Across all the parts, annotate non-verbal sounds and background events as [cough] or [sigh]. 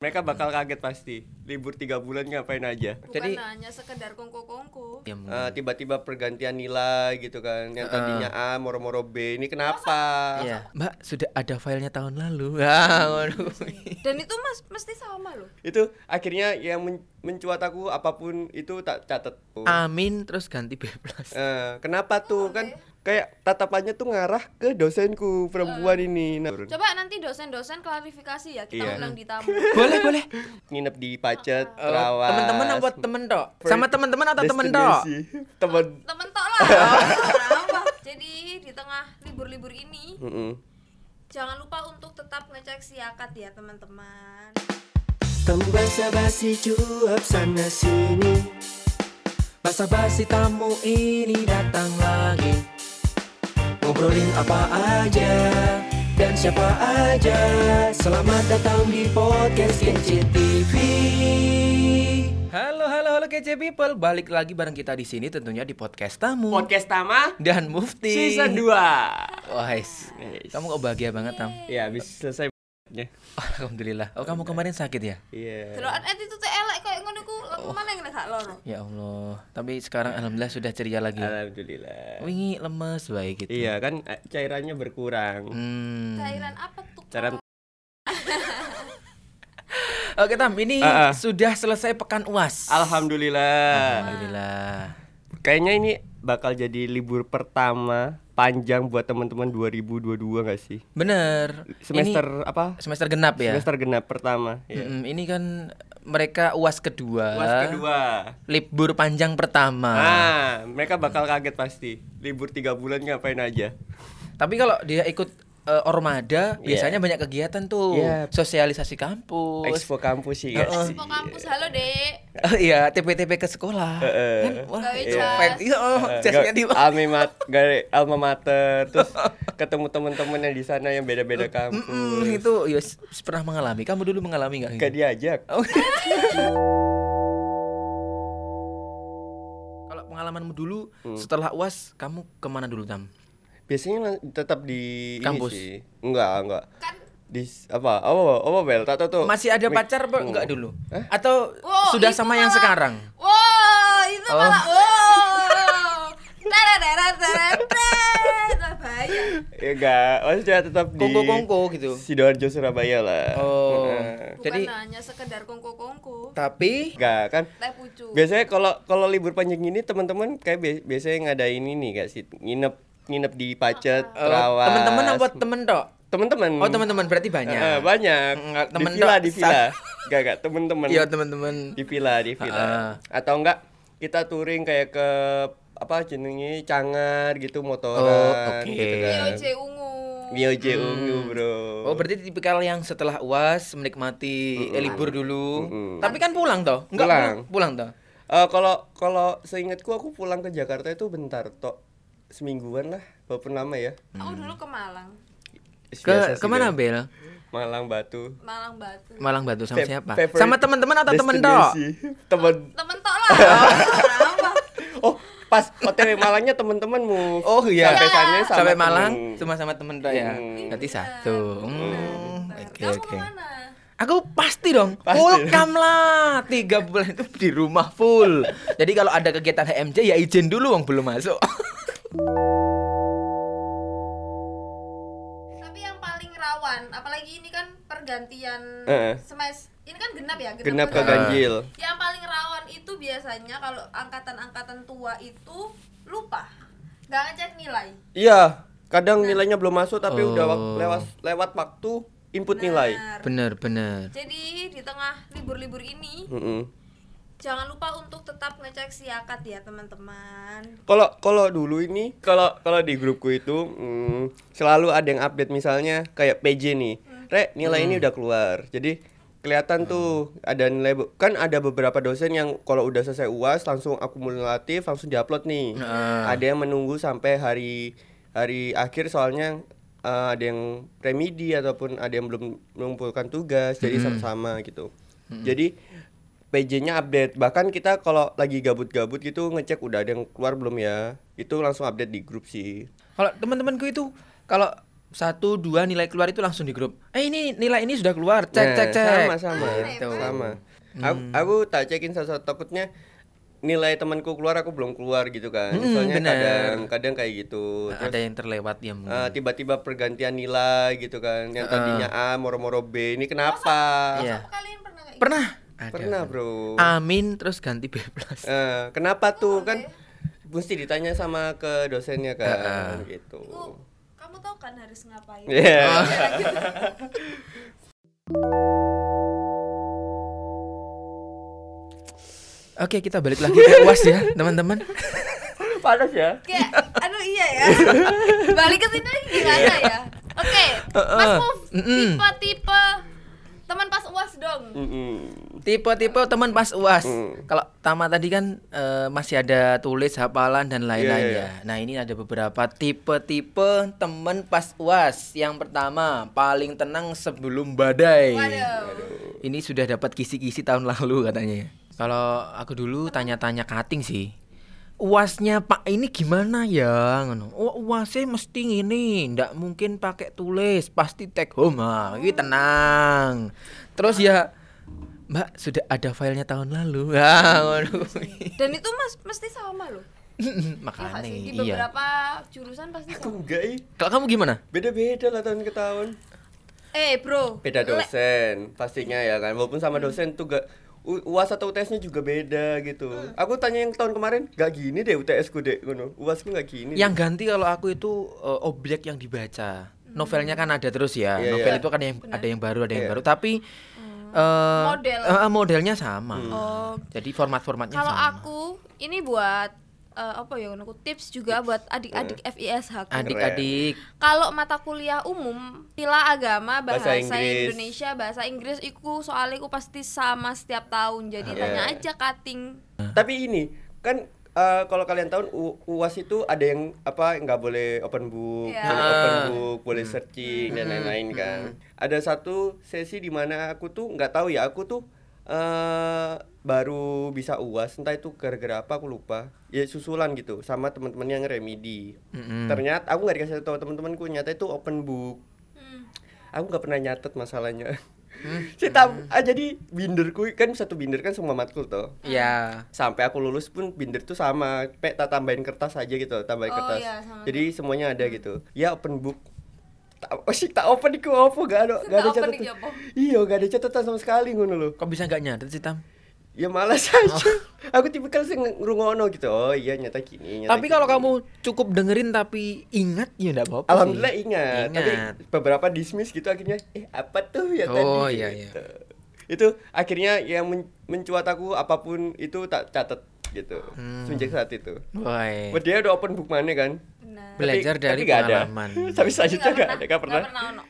Mereka bakal kaget pasti. Libur tiga bulan ngapain aja. Bukan Jadi- hanya sekedar kongko-kongko. Ya, mungkin. Eh, tiba-tiba pergantian nilai gitu kan. Yang tadinya A moro-moro B. Ini kenapa? Iya. Mbak sudah ada filenya tahun Hmm. lalu. Ah, [laughs] waduh. Dan itu mas mesti sama loh. Itu akhirnya yang men- mencuat aku apapun itu tak catat. Amin terus ganti B plus. Eh, kenapa tuh kan kayak tatapannya tuh ngarah ke dosenku perempuan ini. Nah, Coba nanti dosen-dosen klarifikasi ya kita Iya. ulang di tamu. boleh boleh. nginep di Pacet, Oh, Trawas. Teman-teman apa temen tok? Sama teman-teman atau temen tok? Destinasi. Temen. Temen tok lah. Apa? Jadi di tengah libur-libur ini Mm-mm. jangan lupa untuk tetap ngecek siakat ya teman-teman. Tamu basa-basi cuap sana sini Basa basi tamu ini datang lagi. Ngobrolin apa aja Dan siapa aja Selamat datang di podcast Kece TV Halo halo halo kece people, balik lagi bareng kita di sini tentunya di podcast tamu Podcast Tama dan Mufti. season 2. Wah, is. Yes. kamu kok bahagia banget tam? [laughs] Ya, habis selesai Iya. Oh, Alhamdulillah. Oh kamu kemarin sakit ya? Delokan attitude elek kayak ngono ku, lapo maning nek gak loro. Ya Allah. Tapi sekarang alhamdulillah sudah ceria lagi. Alhamdulillah. Wingi lemes baik gitu. Iya kan eh, cairannya berkurang. Hmm. Cairan apa tuh? Cairan Oke Tam, ini Ah, ah. sudah selesai pekan UAS. Alhamdulillah. Alhamdulillah. Kayaknya ini bakal jadi libur pertama panjang buat teman-teman 2022 gak sih? Bener. Semester Ini apa? semester genap ya. Semester genap pertama. Ya. Mm-mm, ini kan mereka UAS kedua. Kelas kedua. Libur panjang pertama. Ah, mereka bakal kaget pasti. Libur tiga bulan ngapain aja? Tapi kalau dia ikut eh, Ormada, biasanya banyak kegiatan tuh. Iya. Sosialisasi kampus. Expo kampus sih gak sih? Mau kampus halo, Dek. Oh [laughs] iya, TP-TP ke sekolah. eh. Kan wah, Gawe itu jas. fact. Iya, oh, Eh, jasnya gak- di alma mat- gak- alma mater [laughs] terus ketemu teman-teman yang di sana yang beda-beda kampus. Mm, itu ya s- pernah mengalami. Kamu dulu mengalami nggak? Gak diajak. Oh. Kalau pengalamanmu dulu Hmm. setelah UAS kamu kemana dulu Tam? Biasanya lang- tetap di ini Kampus. sih. Enggak, enggak. Kan Di s- apa? Apa apa Bel? Tak tahu tuh. Masih ada Mik- pacar apa Oh, Hmm. enggak dulu? Atau Wow, sudah itu sama yang malah- sekarang? Wow, itu Oh. malah wow. Terererererer. Lah, bahaya. Ya enggak, maksudnya tetap di Kongko-kongko gitu. Sidoarjo Surabaya lah. Oh. Heeh. Bukan eh. Jadi hanya sekedar kongko-kongko. tapi eh, Enggak kan? Teh pucu. Biasanya kalau kalau libur panjang gini teman-teman kayak bi- biasanya ngadain ini gak sih? Nginep nginep di Pacet, eh, Trawas. teman-teman apa temen tok? Teman-teman. Oh, teman-teman berarti Hmm. Eh, banyak. banyak. Enggak, di temen villa, dok. di villa. Enggak, enggak, temen-temen. Iya, teman-teman. Di villa, di villa. Heeh. Atau enggak kita touring kayak ke apa jenenge Cangar gitu motoran Oh, oke. Hmm. gitu kan. Yo, J Iya, ungu. Mio J Ungu, Bro. Oh, berarti tipikal yang setelah UAS menikmati eh, libur dulu. Tapi kan pulang toh? Enggak Hmm. Pulang. Pulang toh? Eh, kalau kalau seingatku aku pulang ke Jakarta itu bentar tok semingguan lah walaupun lama ya Aku dulu ke Malang, Ke Biasa sih, kemana Bel. Bel? Malang Batu Malang Batu. Malang Batu sama Fa- siapa? favorite Sama teman-teman atau temen tok? destinasi. [laughs] temen Temen tok [laughs] lah. Apa? oh pas OTW Malangnya temen-temanmu Oh iya. sampai sana sama sampai temen. Malang cuma sama temen dah ya. Hmm. Berarti satu. Hmm, Oke Kamu oke. kemana? Aku pasti dong. Iya. Pasti. Full kam lah. Tiga bulan itu di rumah full. Jadi kalau ada kegiatan HMJ ya izin dulu wong belum masuk. Tapi yang paling rawan, apalagi ini kan pergantian Eh. semes. Ini kan genap ya, genap ke pergantian. ganjil Yang paling rawan itu biasanya kalau angkatan-angkatan tua itu lupa. Gak ngecek nilai. iya kadang nilainya belum masuk tapi udah wak- Oh. lewat lewat waktu input nilai Benar. [laughs] bener bener. Jadi di tengah libur-libur ini Mm-mm. jangan lupa untuk tetap ngecek siakat ya teman-teman. Kalau kalau dulu ini kalau kalau di grupku itu mm, selalu ada yang update misalnya kayak PJ nih. Rek, nilai ini udah keluar. Jadi kelihatan tuh ada nilai be- kan ada beberapa dosen yang kalau udah selesai UAS langsung akumulatif langsung diupload nih. Ada yang menunggu sampai hari hari akhir soalnya eh, ada yang remedi ataupun ada yang belum mengumpulkan tugas jadi sama-sama gitu. Jadi PJ-nya update. Bahkan kita kalau lagi gabut-gabut gitu ngecek udah ada yang keluar belum ya. Itu langsung update di grup sih. Kalau teman-temanku itu kalau satu dua nilai keluar itu langsung di grup eh ini nilai ini sudah keluar cek Nah, cek cek Sama sama. Gitu. Sama. Aku, aku tak cekin satu-satu takutnya nilai temanku keluar aku belum keluar gitu kan. Mm, Soalnya bener. kadang kadang kayak gitu. Nah, ada yang terlewat ya mungkin. Eh, tiba-tiba pergantian nilai gitu kan. Yang tadinya A moro-moro B. Ini kenapa? Ah. Iya. kalian pernah nggak pernah Ada. Ah. Pernah, Bro. amin terus ganti B plus Eh, kenapa tuh kan mesti ditanya sama ke dosennya Ah, kan gitu. Ibu, kamu tahu kan harus ngapain Iya. [laughs] oke kita balik lagi ke [laughs] uas ya teman-teman Panas ya? kayak aduh iya ya balik ke sini lagi gimana ya oke mas Muf Mm-mm. tipe tipe teman pas uas dong Mm-mm. tipe-tipe teman pas uas Hmm. kalau tama tadi kan eh, masih ada tulis hafalan dan Iya, lain-lain iya, ya nah ini ada beberapa tipe-tipe teman pas uas yang pertama paling tenang sebelum badai waduh ini sudah dapat kisi-kisi tahun lalu katanya ya? kalau aku dulu tanya-tanya kating sih uasnya pak ini gimana ya ngono oh, uasnya mesti ini ndak mungkin pakai tulis pasti take home ah ini tenang terus ya mbak sudah ada filenya tahun lalu [laughs] ah ngono dan itu mas mesti sama loh Iya nggak makanya sih? Iya di iya beberapa jurusan pasti Aku sama enggak ih. kalau kamu gimana Beda-beda lah tahun ke tahun. eh bro beda le- dosen pastinya ya kan walaupun sama dosen tuh gak U- UAS atau UTS-nya juga beda gitu. Aku tanya yang tahun kemarin, gak gini deh UTS-ku deh, ngono. UASku gak gini. Yang ganti kalau aku itu eh, objek yang dibaca. Hmm. Novelnya kan ada terus ya. Iya, Novel iya. itu kan yang ada yang baru, ada yang Iya. baru. Tapi eh, Hmm. Model. eh, eh, modelnya sama. Hmm. oh Jadi format-formatnya kalau sama. aku ini buat eh, apa ya aku tips juga buat adik-adik FISH aku. Adik-adik, Kalau mata kuliah umum, pila agama, bahasa, Bahasa Inggris. Indonesia, bahasa Inggris iku soalnya iku pasti sama setiap tahun. Jadi Yeah. tanya aja cutting. Tapi ini kan eh, kalau kalian tahu U- UAS itu ada yang apa nggak boleh open book, Iya. boleh open Ah. book, boleh searching dan lain-lain kan. Ada satu sesi di mana aku tuh nggak tahu ya, aku tuh eh baru bisa UAS, entah itu gara-gara apa aku lupa. Ya susulan gitu sama teman-teman yang remedi. Ternyata aku nggak dikasih tahu teman-temanku, nyata itu open book aku nggak pernah nyatet masalahnya [laughs] si tam ah jadi binderku kan satu binder kan semua matkul toh ya. Hmm. sampai aku lulus pun binder tuh sama pe tak tambahin kertas aja gitu tambahin Oh, kertas iya, sama Hmm. jadi semuanya ada gitu ya open book tak [laughs] oh, sih tak open iku opo gak [laughs] ada gak ada Tak open iki catatan apa? iya gak ada catatan sama sekali ngono loh Kok bisa nggak nyatet sih Tam? ya malas [laughs] aja aku tipikal sing ngrungono gitu oh iya nyata gini nyata tapi kalau gini. kamu cukup dengerin tapi ingat ya enggak apa-apa. sih. Alhamdulillah ingat. Tapi Ingat. beberapa dismiss gitu akhirnya eh apa tuh ya tadi. Oh, iya, iya. gitu. Itu akhirnya yang men- mencuat aku apapun itu tak catat gitu. Hmm. Semenjak saat itu. Woi. Dia udah open book mana kan? Benar. Tapi- Belajar dari tapi nggak ada. pengalaman. [laughs] tapi Tapi selanjutnya gak ada, gak pernah. nggak pernah ono.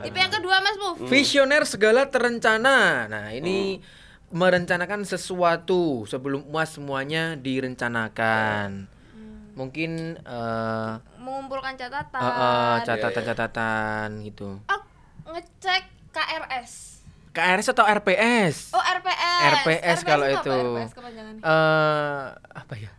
Ah, Tipe yang kedua Mas Muf. Hmm. Hmm. Visioner segala terencana. Nah, ini Hmm. merencanakan sesuatu sebelum UAS semuanya direncanakan. Hmm. Mungkin eh Mengumpulkan catatan. eh, eh, catatan-catatan gitu. Aku ngecek KRS. KRS atau RPS? Oh, RPS. RPS kalau apa? itu. RPS kepanjangan. Nah, Eh, apa ya?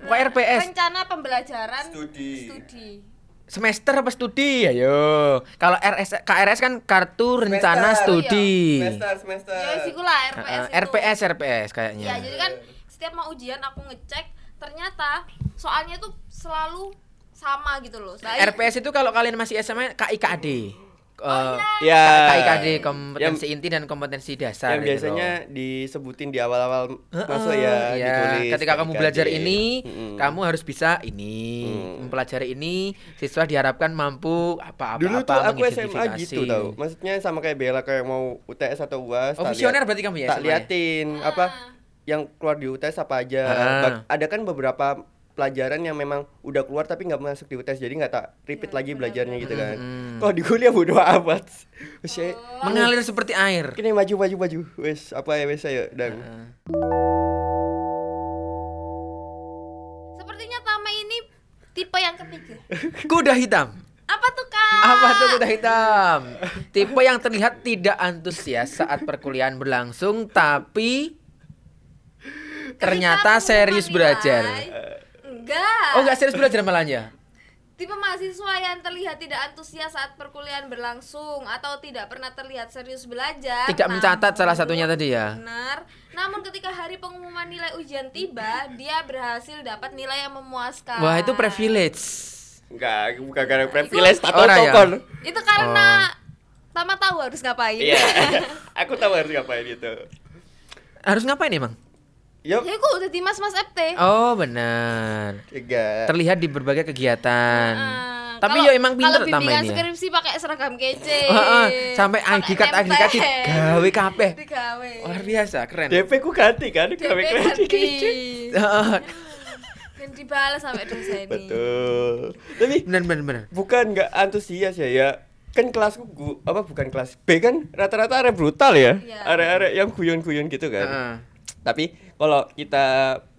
Kok RPS? Rencana pembelajaran Studi. studi. Semester apa studi? Ayo. Kalau RS KRS kan kartu Semester. rencana Iya. studi. Semester semester. Ya sih lah Eh, RPS eh, itu. RPS RPS kayaknya. Iya, jadi kan setiap mau ujian aku ngecek ternyata soalnya tuh selalu sama gitu loh. Saya- RPS itu kalau kalian masih SMA KIKD. Eh, Ya. KIKD kompetensi inti dan kompetensi dasar. yang gitu biasanya loh. disebutin di awal-awal Heeh, masuk ya, iya. ditulis. Ketika kamu dikaji. belajar ini, Mm-mm. Mm. kamu harus bisa ini, mempelajari ini. Siswa diharapkan mampu apa-apa Dulu tuh aku SMA gitu tau Maksudnya sama kayak Bella kayak mau UTS atau UAS Oh, tak visioner lihat- berarti kamu ya Tak SMA-nya? liatin apa yang keluar di UTS apa aja Ah. Bak- Ada kan beberapa pelajaran yang memang udah keluar tapi nggak masuk di UTS Jadi nggak tak repeat lagi belajarnya gitu kan Hmm. Kalau di kuliah bodo amat Wes eh, Mengalir seperti air. Kini maju maju maju Wes apa ya wes ayo dan Ah. Sepertinya Tama ini tipe yang ketiga. Kuda hitam. Apa tuh, Kak? Apa tuh kuda hitam? Tipe yang terlihat tidak antusias saat perkuliahan berlangsung tapi ternyata Ketika pengumuman serius nilai, belajar. Enggak enggak. Oh nggak serius belajar malahnya? Tipe mahasiswa yang terlihat tidak antusias saat perkuliahan berlangsung atau tidak pernah terlihat serius belajar. Tidak mencatat namun- salah satunya tadi ya. Benar. Namun ketika hari pengumuman nilai ujian tiba, dia berhasil dapat nilai yang memuaskan. Wah itu privilege. Enggak, bukan karena privilege atau Orang ya? tokon. Itu karena Tama tahu harus ngapain. Iya. [laughs] Aku tahu harus ngapain itu. Harus ngapain emang? Yup. ya gue udah di mas-mas FT. Oh benar. Tiga. Terlihat di berbagai kegiatan. Heeh. Tapi Kalau- ya emang pinter kalau tambah bimbingan ini. Ya. skripsi pakai seragam kece. Heeh, sampai Pakai angkikat nempel. angkikat gawe kabeh. Digawe. Luar biasa, keren. DP ku ganti kan? DP Kami kredit. ganti. Heeh. Dan dibalas sampai dosen ini. Betul. Tapi benar benar benar. bukan nggak antusias ya ya kan kelasku gu- apa bukan kelas B kan rata-rata area brutal ya Iya. area-area yang guyon-guyon gitu kan Heeh. tapi kalau kita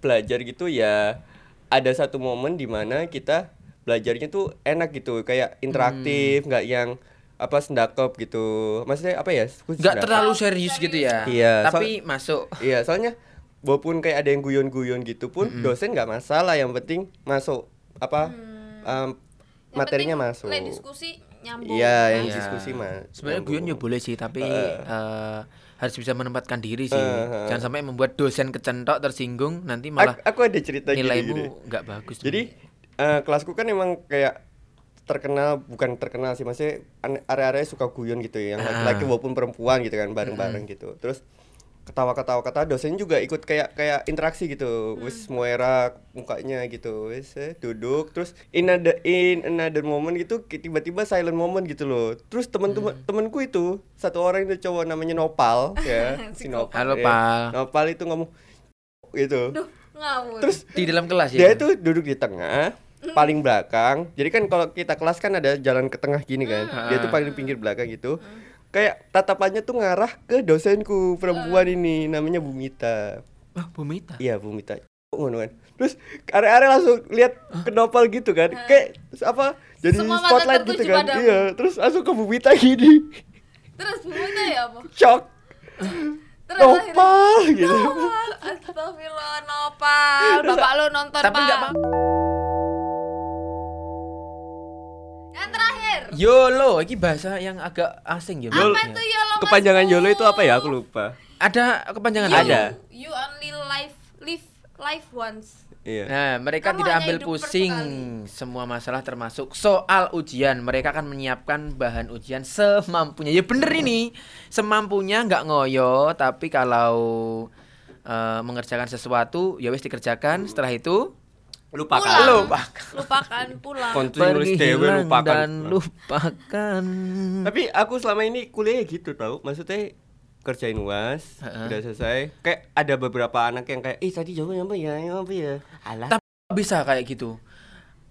belajar gitu ya ada satu momen dimana kita belajarnya tuh enak gitu kayak interaktif Hmm. nggak yang apa sendakop gitu maksudnya apa ya Aku Nggak sendakop. terlalu serius gitu ya. Iya, Tapi masuk. iya soalnya walaupun kayak ada yang guyon-guyon gitu pun dosen nggak masalah yang penting masuk apa em, Hmm. Yang materinya penting, masuk le, diskusi nyambung. Iya, yang Nah, diskusi mah. Sebenarnya guyon ya boleh sih, tapi eh, harus bisa menempatkan diri sih. Eh, eh. Jangan sampai membuat dosen kecentok, tersinggung, nanti malah Ak- aku ada cerita gini. nilaimu nggak bagus. Jadi eh, kelasku kan emang kayak terkenal bukan terkenal sih masih area-area suka guyon gitu ya yang Ah. laki-laki walaupun perempuan gitu kan bareng-bareng gitu terus ketawa-ketawa kata dosen juga ikut kayak kayak interaksi gitu wis moera mukanya gitu wis eh, duduk terus in ada in another moment gitu ki- tiba-tiba silent moment gitu loh terus temen-temen temenku itu satu orang itu cowok namanya Nopal ya si Nopal Halo, ya. Pal. Nopal itu ngomong gitu Duh, ngawur. terus di dalam kelas ya. dia itu duduk di tengah paling belakang jadi kan kalau kita kelas kan ada jalan ke tengah gini kan dia itu paling pinggir belakang gitu kayak tatapannya tuh ngarah ke dosenku perempuan ini namanya Bumita Wah, Bumita. iya Bumita ngono kan terus area-area langsung lihat ke Nopal gitu kan kayak apa jadi Semua mata spotlight tertuju gitu kan padamu. iya terus langsung ke Bumita gini [laughs] Terus bumbunya ya apa? shock Terus akhirnya Nopal Iya. gitu Nopal, astagfirullah Nopal. Bapak lo nonton, Tapi nggak Pak. apa- Yang terakhir. Iya. YOLO, ini bahasa yang agak asing ya. Yol- Apa itu YOLO Mas kepanjangan Bu? YOLO itu apa ya aku lupa Ada kepanjangan You, lain? Ada. You only live live life once. iya Nah, mereka Kamu tidak hanya ambil hidup pusing semua masalah termasuk soal ujian. Mereka akan menyiapkan bahan ujian semampunya. Ya bener Iya. ini, semampunya nggak ngoyo. Tapi kalau eh, mengerjakan sesuatu, ya wis dikerjakan. Setelah itu lupakan Pulang. lupakan Lupakan pulang. Continuous dewe hilang lupakan dan lupakan. Hmm. Tapi aku selama ini kuliahnya gitu tau Maksudnya kerjain UAS Heeh. udah selesai kayak ada beberapa anak yang kayak ih tadi jawabannya apa ya yang apa ya alah Tapi bisa kayak gitu.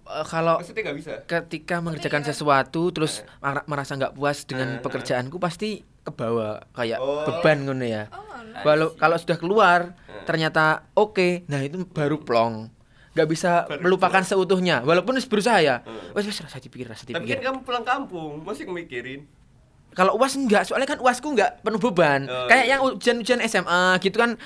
Eh, kalau maksudnya nggak bisa ketika mengerjakan ya, sesuatu terus mar- merasa nggak puas dengan pekerjaanku pasti kebawa Ah. kayak Oh. beban ngono ya. Oh, nice. Walau kalau sudah keluar Ah. ternyata oke, nah itu baru plong. Nggak bisa melupakan seutuhnya walaupun wis berusaha ya. Wes wes rasa dipikir rasa Ah. tapi kan ya. dipikir. kamu pulang kampung masih mikirin Kalau UAS enggak, soalnya kan UASku enggak penuh beban. Oh, Kayak iya. yang ujian-ujian SMA gitu kan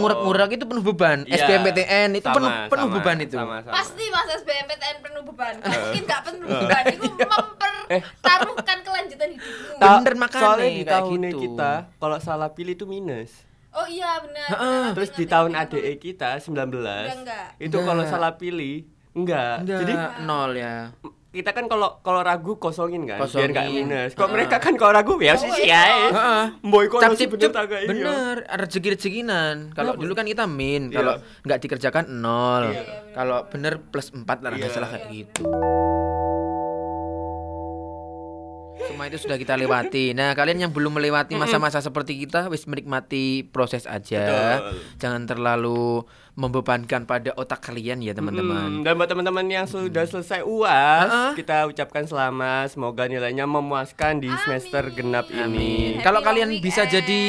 Oh. ngurek-ngurek itu penuh beban. Iya, SBMPTN itu penuh sama, penuh sama, beban itu. sama, sama. Pasti mas SBMPTN penuh beban. Gak mungkin gak penuh Eh. beban. Itu mempertaruhkan kelanjutan hidupmu. Ta- Bener makanya, soalnya di kayak tahunnya gitu. kita kalau salah pilih itu minus Oh iya benar. terus di tahun ADE kita 19 Udah enggak. itu kalau Enggak. salah pilih enggak, Enggak, jadi nol ya. kita kan kalau kalau ragu kosongin kan biar nggak Kosongin. minus kalau mereka kan kalau ragu ya sih sih ya Heeh. boy kok cap nasi cip bener cip agak ini ya. bener rezeki rezekinan kalau dulu kan kita min Iya. kalau nggak dikerjakan nol kalau bener plus empat lah nggak Iya. salah kayak gitu semua itu sudah kita lewati nah kalian yang belum melewati masa-masa seperti kita wis menikmati proses aja Betul. jangan terlalu membebankan pada otak kalian ya teman-teman Hmm. Ah, Hmm, dan buat teman-teman yang sudah selesai UAS, Heeh. kita ucapkan selamat. Semoga nilainya memuaskan di semester genap ini. Amin. Happy Kalau long kalian bisa weekend. jadi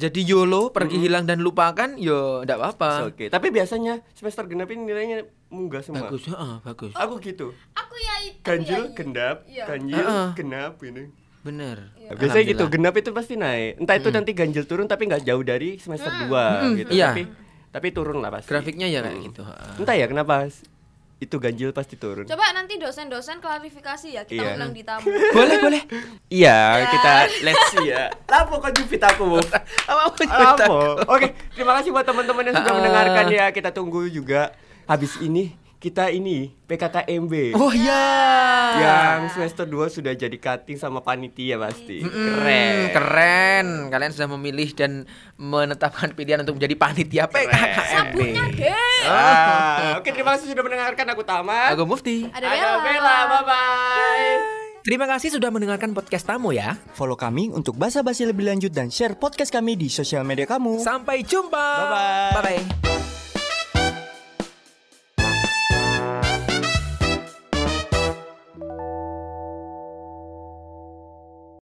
jadi YOLO, pergi hilang dan lupakan, yo enggak apa-apa. Oke, tapi biasanya semester genap ini nilainya munggah semua. Bagus, heeh, bagus. Aku gitu. Aku ya itu. Ganjil, ya, genap, Iya. ganjil, Heeh. genap ini. Bener. Biasanya gitu, genap itu pasti naik. Entah itu nanti ganjil turun tapi nggak jauh dari semester Hmm. 2 gitu. Hmm. Iya. Tapi tapi turun lah pasti. Hmm. Grafiknya ya kayak gitu. heeh. Entah ya kenapa itu ganjil pasti turun. Coba nanti dosen-dosen klarifikasi ya kita Iya. undang di tamu. boleh boleh Iya, Ya. kita let's see ya. Lapo kok jupit aku, Bu? [laughs] apa mau [laughs] cerita? Lapo. Oke, terima kasih buat teman-teman yang sudah Ah. mendengarkan ya. Kita tunggu juga habis ini kita ini PKKMB. oh ya Yang semester 2 sudah jadi cutting sama panitia pasti. Keren. Hmm, keren kalian sudah memilih dan menetapkan pilihan untuk menjadi panitia PKKMB Sabunnya deh. Ah, Oke, terima kasih sudah mendengarkan aku Taman. Aku Mufti Ada Ada Bella. Bella. Bye-bye. terima kasih sudah mendengarkan podcast tamu ya Follow kami untuk basa-basi lebih lanjut dan share podcast kami di sosial media kamu. sampai jumpa Bye-bye. bye bye